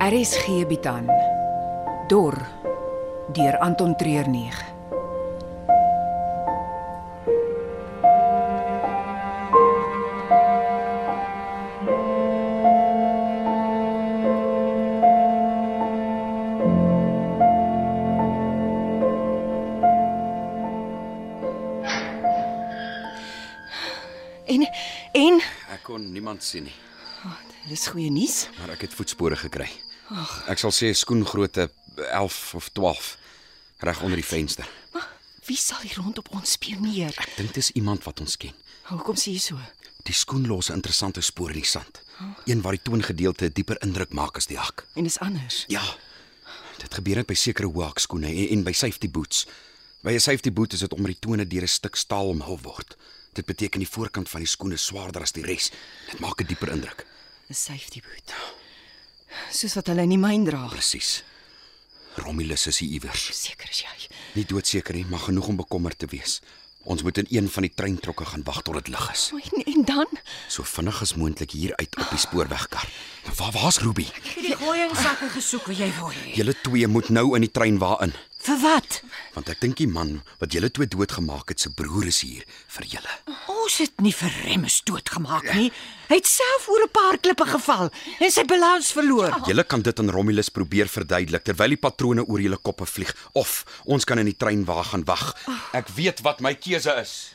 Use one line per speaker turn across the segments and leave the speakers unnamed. RSG bied aan Dor deur Anton Treurnig.
En en
Ek kon niemand sien nie,
dis goeie nuus.
maar ek het voetspore gekry. Ek sal sê skoengrootte 11 of 12 reg onder die venster.
Maar wie sal hier rondop ons spioneer?
Ek dink dis iemand wat ons ken.
Hoekom sê jy so?
Die skoen los 'n interessante spoor in die sand. Een waar die toongedeelte dieper indruk maak as die hak.
En is anders.
Ja. Dit gebeur net by sekere hoek skoene en, en by safety boots. By 'n safety boot is dit omdat die tone deur 'n stuk staal omhul word. Dit beteken die voorkant van die skoen is swaarder as die res. Dit maak 'n dieper indruk.
'n Safety boot. Soos wat hulle in die myn dra.
Presies. Romulus is hier iewers.
Seker is jy.
Nie doodseker nie, maar genoeg om bekommerd te wees. Ons moet in een van die treintrokke gaan wag tot dit lig is.
O, En, en dan
So vinnig as moontlik hier uit op die spoorwegkar. Waar waar's Ruby?
Die gooiingsakke gesoek wat jy wou
Ja.
hê.
Julle twee moet nou in die trein waarin,
Vir wat?
want ek dink die man wat julle twee doodgemaak het se broer is hier vir julle.
Ons het nie vir Remmes doodgemaak nie. Hy het self oor 'n paar klippe geval en sy balans verloor.
Julle kan dit aan Romulus probeer verduidelik terwyl die patrone oor julle koppe vlieg of ons kan in die trein wa gaan wag. Ek weet wat my keuse is.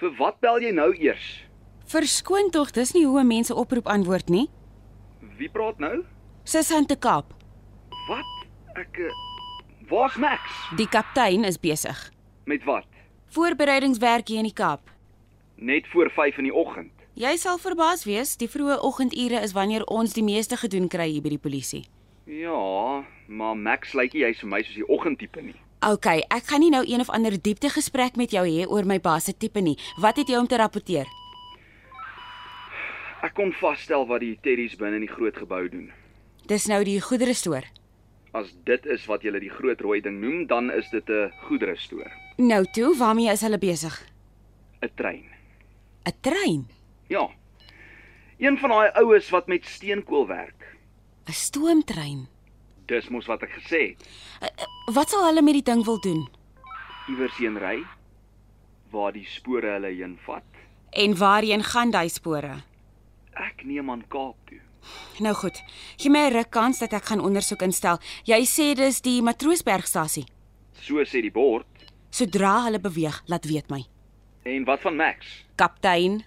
Vir wat bel jy nou eers?
Verskoon tog, dis nie hoe 'n mens 'n oproep antwoord nie.
Wie praat nou?
Susan te Kaap.
Wat? Ek eh, Waar's Max?
Die kaptein is besig.
Met wat?
Voorbereidingswerk hier in die Kaap.
Net voor 5 in die oggend.
Jy sal verbaas wees, die vroeë oggendure is wanneer ons die meeste gedoen kry hier by die polisie.
Ja, maar Max lyk nie hy's vir my soos die oggendtipe nie.
OK, ek gaan nie nou een of ander diepte gesprek met jou hê oor my baas se tipe nie. Wat het jy om te rapporteer?
Ek kon vasstel wat die Terries binne in die groot gebou doen.
Dis nou die goedere stoor.
As dit is wat julle die groot rooi ding noem, dan is dit 'n goedere stoor,
Nou toe, waarmee is hulle besig?
'n trein.
'n Trein,
Ja. Een van daai oues wat met steenkool werk.
'n stoomtrein.
Dis mos wat ek gesê het.
Wat sal hulle met die ding wil doen?
Iewers heen ry waar die spore hulle heen vat.
En waarheen gaan daai spore?
Ek neem aan Kaap toe.
Nou goed. Gee my 'n ruk kans dat ek gaan ondersoek instel. Jy sê dis die Matroosbergstasie.
So sê die bord.
Sodra hulle beweeg, laat weet my.
En wat van Max?
Kaptein,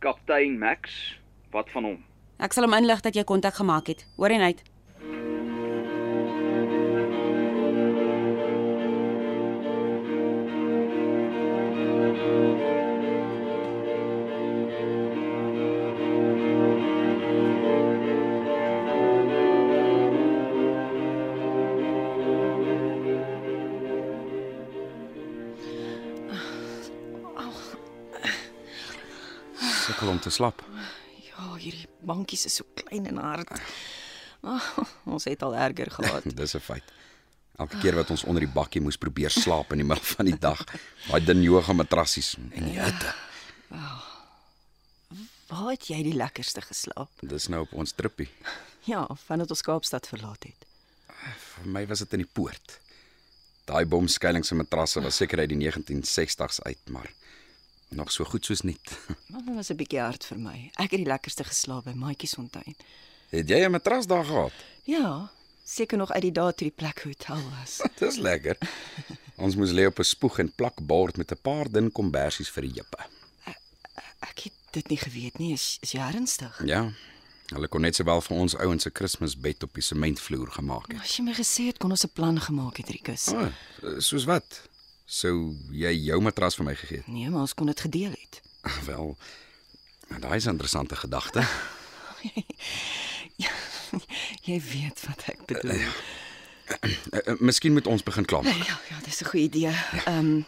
Kaptein Max, wat van hom?
ek sal hom inlig dat jy kontak gemaak het. Hoor en uit.
Sukkel om te slap.
ja, hierdie bankies is so klein en hard. Oh, ons het al erger gehad.
Dis 'n feit. Elke keer wat ons onder die bakkie moes probeer slaap in die middel van die dag, daai dun yoga matrassies en die hitte.
Waar het jy die lekkerste geslaap?
Dis nou op ons trippie.
Ja, vandat ons Kaapstad verlaat het.
Vir my was dit in die poort. Daai bomskuiling se matrasse was seker uit die 1960s uit, maar nog so goed soos nuut.
Mamma was 'n bietjie hard vir my. Ek het die lekkerste geslaap by Maatjie Sontuin.
Het jy 'n matras daar gehad?
Ja, seker nog uit die dae toe die plek hotel was.
Dis lekker. Ons moes lê op 'n spoeg en plakbord met 'n paar dun kombersies vir die heupe.
Ek het dit nie geweet nie. Is, is jy ernstig?
Ja. Hulle kon net sowel vir ons ouens se Kersbed op die sementvloer gemaak het.
As jy my gesê het kon ons 'n plan gemaak het, Rikus.
O, oh, soos wat? Sou jy jou matras vir my gegee het?
Nee, maar ons kon dit gedeel het.
Wel, nou, daai is 'n interessante gedagte.
jy weet wat ek bedoel.
Eh, eh, Miskien moet ons begin klaar.
Ja, ja, dis 'n goeie idee. Ehm um,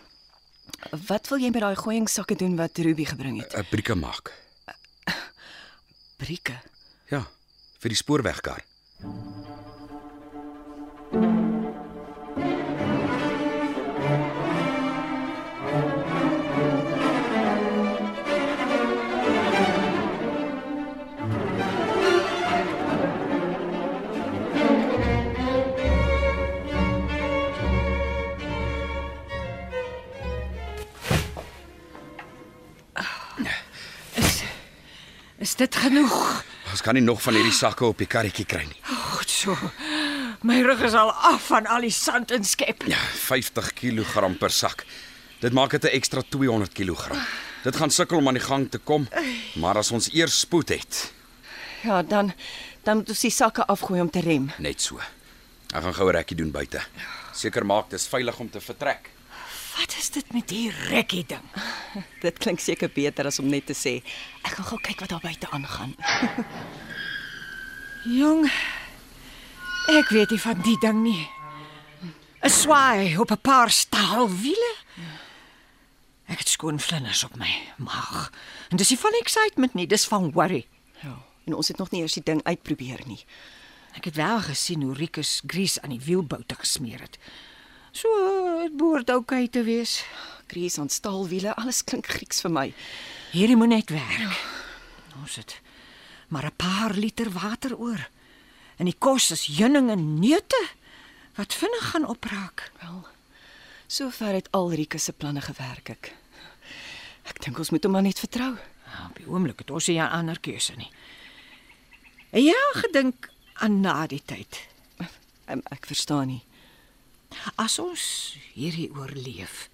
wat wil jy met daai gooiingsakke doen wat Ruby gebring het?
'n Brieke maak.
Brieke.
Ja, vir die spoorwegkar.
Is dit genoeg?
Ons kan nie nog van hierdie sakke op die karretjie kry nie.
Goed so. My rug is al af van al die sand en skep.
Ja, 50 kg per sak. Dit maak dit 'n ekstra 200 kg. Dit gaan sukkel om aan die gang te kom, maar as ons eers spoed het,
Ja, dan dan moet ons die sakke afgooi om te rem.
net so. Ek gaan gou 'n rekkie doen buite. Seker maak dis veilig om te vertrek.
Wat is dit met hierdie rekkie ding?
Dit klink seker beter as om net te sê ek gaan gou kyk wat daar buite aangaan.
Jong. Ek weet nie van die ding nie. 'n Swaai op 'n paar staalwiele. Ek het skoon vlinders op my maag. En dis nie van excitement nie, dis van worry.
Ja, en ons het nog nie eers die ding uitprobeer nie.
Ek het wel gesien hoe Rikus grease aan die wielboute gesmeer het. So, dit behoort oukei te wees.
Grease aan staalwiele, alles klink Grieks vir my.
Hierdie moet net werk. Ons het maar 'n paar liter water oor. En die kos is heuning en neute wat vinnig gaan opraak.
Wel, sover het al Rika se planne gewerk ek. Ek dink ons moet hom maar net vertrou.
Nou, op die oomblik het ons nie 'n ander keuse nie. En Ja, gedink aan na die tyd.
Em, Ehm, Ek verstaan nie.
As ons hierdie oorleef,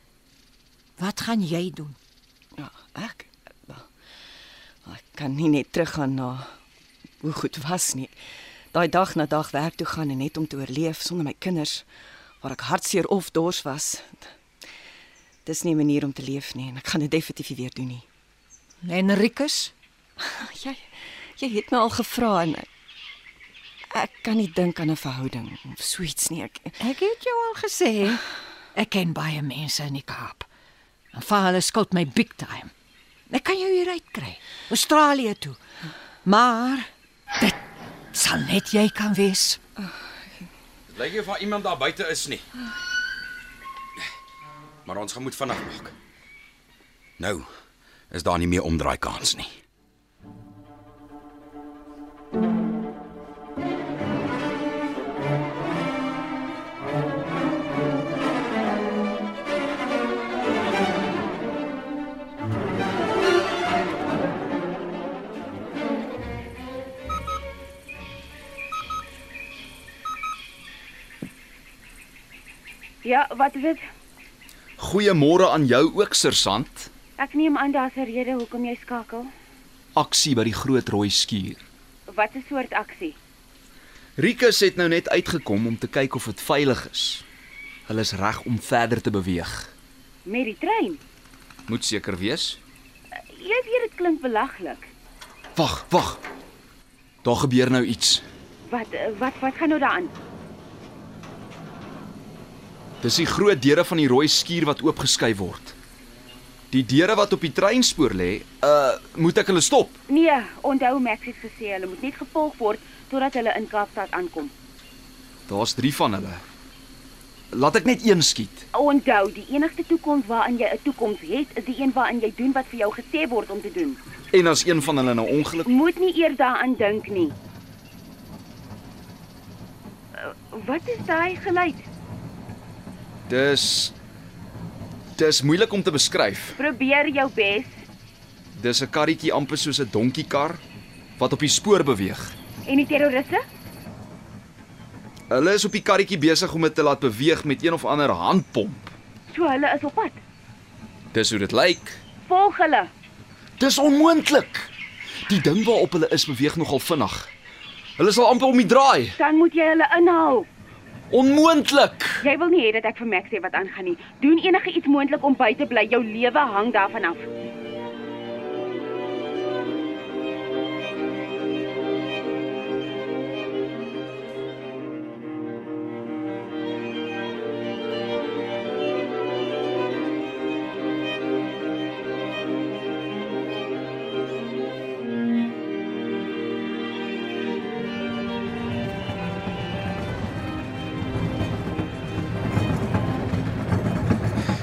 wat gaan jy doen?
Ja, ek wel, ek kan nie net teruggaan na hoe goed was nie. Daai dag na dag werk toe gaan en net om te oorleef sonder my kinders waar ek hartseer of dors was. Dis nie 'n manier om te leef nie en ek gaan dit definitief nie weer doen nie.
Henrikus,
Jy jy het my al gevra en ek, ek kan nie dink aan 'n verhouding of so iets nie. Ek
ek het jou al gesê, ek ken baie mense in die Kaap. En vir hulle skuld my big time. Ek kan jou hier uitkry, Australië toe. Maar dit sal net jy kan wees.
Dit lyk nie of daar iemand daar buite is nie. Maar ons gaan moet vinnig maak. Nou is daar nie meer omdraai kans nie.
Ja, wat is dit?
Goeiemôre aan jou ook, sergeant.
Ek neem aan daar's 'n rede hoekom jy skakel.
Aksie by die groot rooi skuur.
Wat 'n soort aksie?
Rikus het nou net uitgekom om te kyk of dit veilig is. Hulle is reg om verder te beweeg.
Met die trein?
Moet seker wees.
Jy weet dit klink belaglik.
Wag, wag. Daar gebeur nou iets.
Wat eh, wat wat gaan nou daaraan?
Dis die groot deure van die rooi skuur wat oopgeskuif word. Die deure wat op die treinspoor lê, uh moet ek hulle stop.
Nee, onthou Max het gesê hulle moet net gevolg word totdat hulle in Kaapstad aankom.
Daar's 3 van hulle. Laat ek net een skiet.
Onthou, die enigste toekoms waarin jy 'n toekoms het, is die een waarin jy doen wat vir jou gesê word om te doen.
En as een van hulle nou ongeluk,
Moet nie eers daaraan dink nie. Eh, Wat is daai geluid?
dis dis moeilik om te beskryf.
Probeer jou bes
Dis 'n karretjie amper soos 'n donkiekar wat op die spoor beweeg.
en die terroriste?
Hulle is op die karretjie besig om dit te laat beweeg met een of ander handpomp.
So hulle is op pad.
Dis hoe dit lyk.
Volg hulle.
Dis onmoontlik. Die ding waarop hulle is beweeg nogal vinnig. Hulle is al amper om die draai.
Dan moet jy hulle inhaal.
Onmoontlik.
Jy wil nie hê dat ek vir Max sê wat aangaan nie. Doen enige iets moontlik om by te bly. Jou lewe hang daarvan af.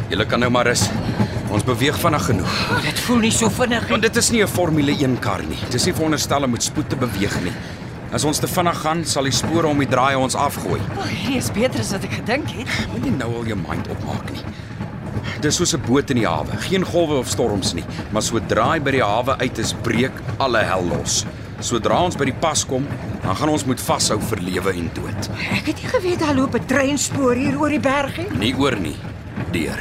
Julle kan nou maar rus. Ons beweeg vinnig genoeg.
Oh, dit voel nie so vinnig
Want
nie.
dit is nie 'n Formule 1 kar nie. Dit is nie veronderstel om met spoed te beweeg nie. As ons te vinnig gaan, sal die spore om die draaie ons afgooi.
O, hierdie is beter as wat ek gedink het.
Moenie nou al jou mind opmaak nie. Dis soos 'n boot in die hawe. Geen golwe of storms nie, maar sodra hy by die hawe uit is, breek alle hel los. Sodra ons by die pas kom, dan gaan ons moet vashou vir lewe en dood.
Ek het nie geweet daar loop 'n treinspoor hier oor die berge.
Nie oor nie, deur.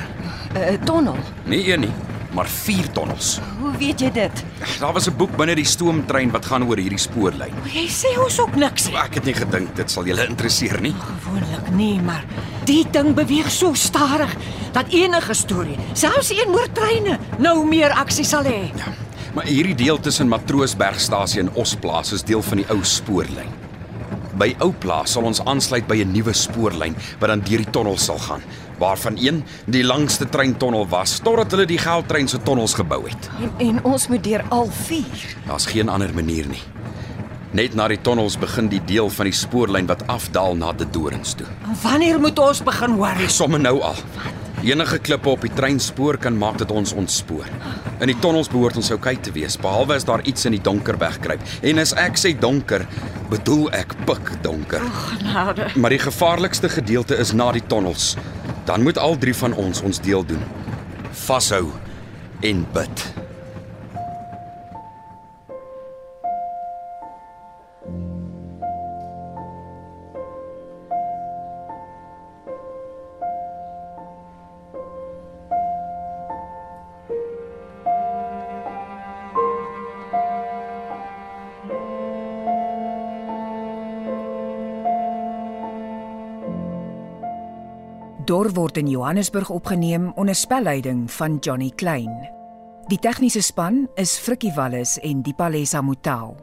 'n uh, Tonnel.
Nie een nie, maar vier tonnels.
Hoe weet jy dit?
Daar was 'n boek binne die stoomtrein wat gaan oor hierdie spoorlyn.
Jy sê ons ook niks nie.
Ek het nie gedink dit sal julle interesseer nie.
Gewoonlik nie, maar die ding beweeg so stadig dat enige storie, selfs een moordtreine, nou meer aksie sal hê.
Ja. Maar hierdie deel tussen Matroosbergstasie en Osplaas is deel van die ou spoorlyn. By Ouplaas sal ons aansluit by 'n nuwe spoorlyn wat dan deur die tonnels sal gaan, waarvan een die langste treintonnel was totdat hulle die geldtrein se tonnels gebou het.
En, en ons moet deur al vier.
Daar's geen ander manier nie. Net na die tonnels begin die deel van die spoorlyn wat afdaal na die dorings toe.
En wanneer moet ons begin worry?
Somme nou al. Enige klippe op die treinspoor kan maak dat ons ontspoor. In die tonnels behoort ons oukei te wees, behalwe as daar iets in die donker wegkruip. En as ek sê donker, bedoel ek pik donker.
Genade.
Maar die gevaarlikste gedeelte is na die tonnels. Dan moet al drie van ons ons deel doen. Vashou en bid.
Dor word in Johannesburg opgeneem onder spelleiding van Johnny Klein. Die tegniese span is Frikkie Wallis en Dipalesa Motelo.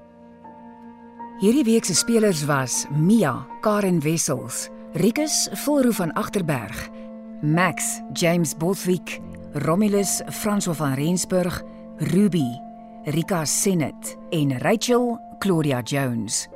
Hierdie week se spelers was Mia, Karen Wessels, Rikus Volroo van Agterberg, Max, James Botwijk, Romulus Franso van Rensburg, Ruby, Rika Senet en Rachel Claudia Jones.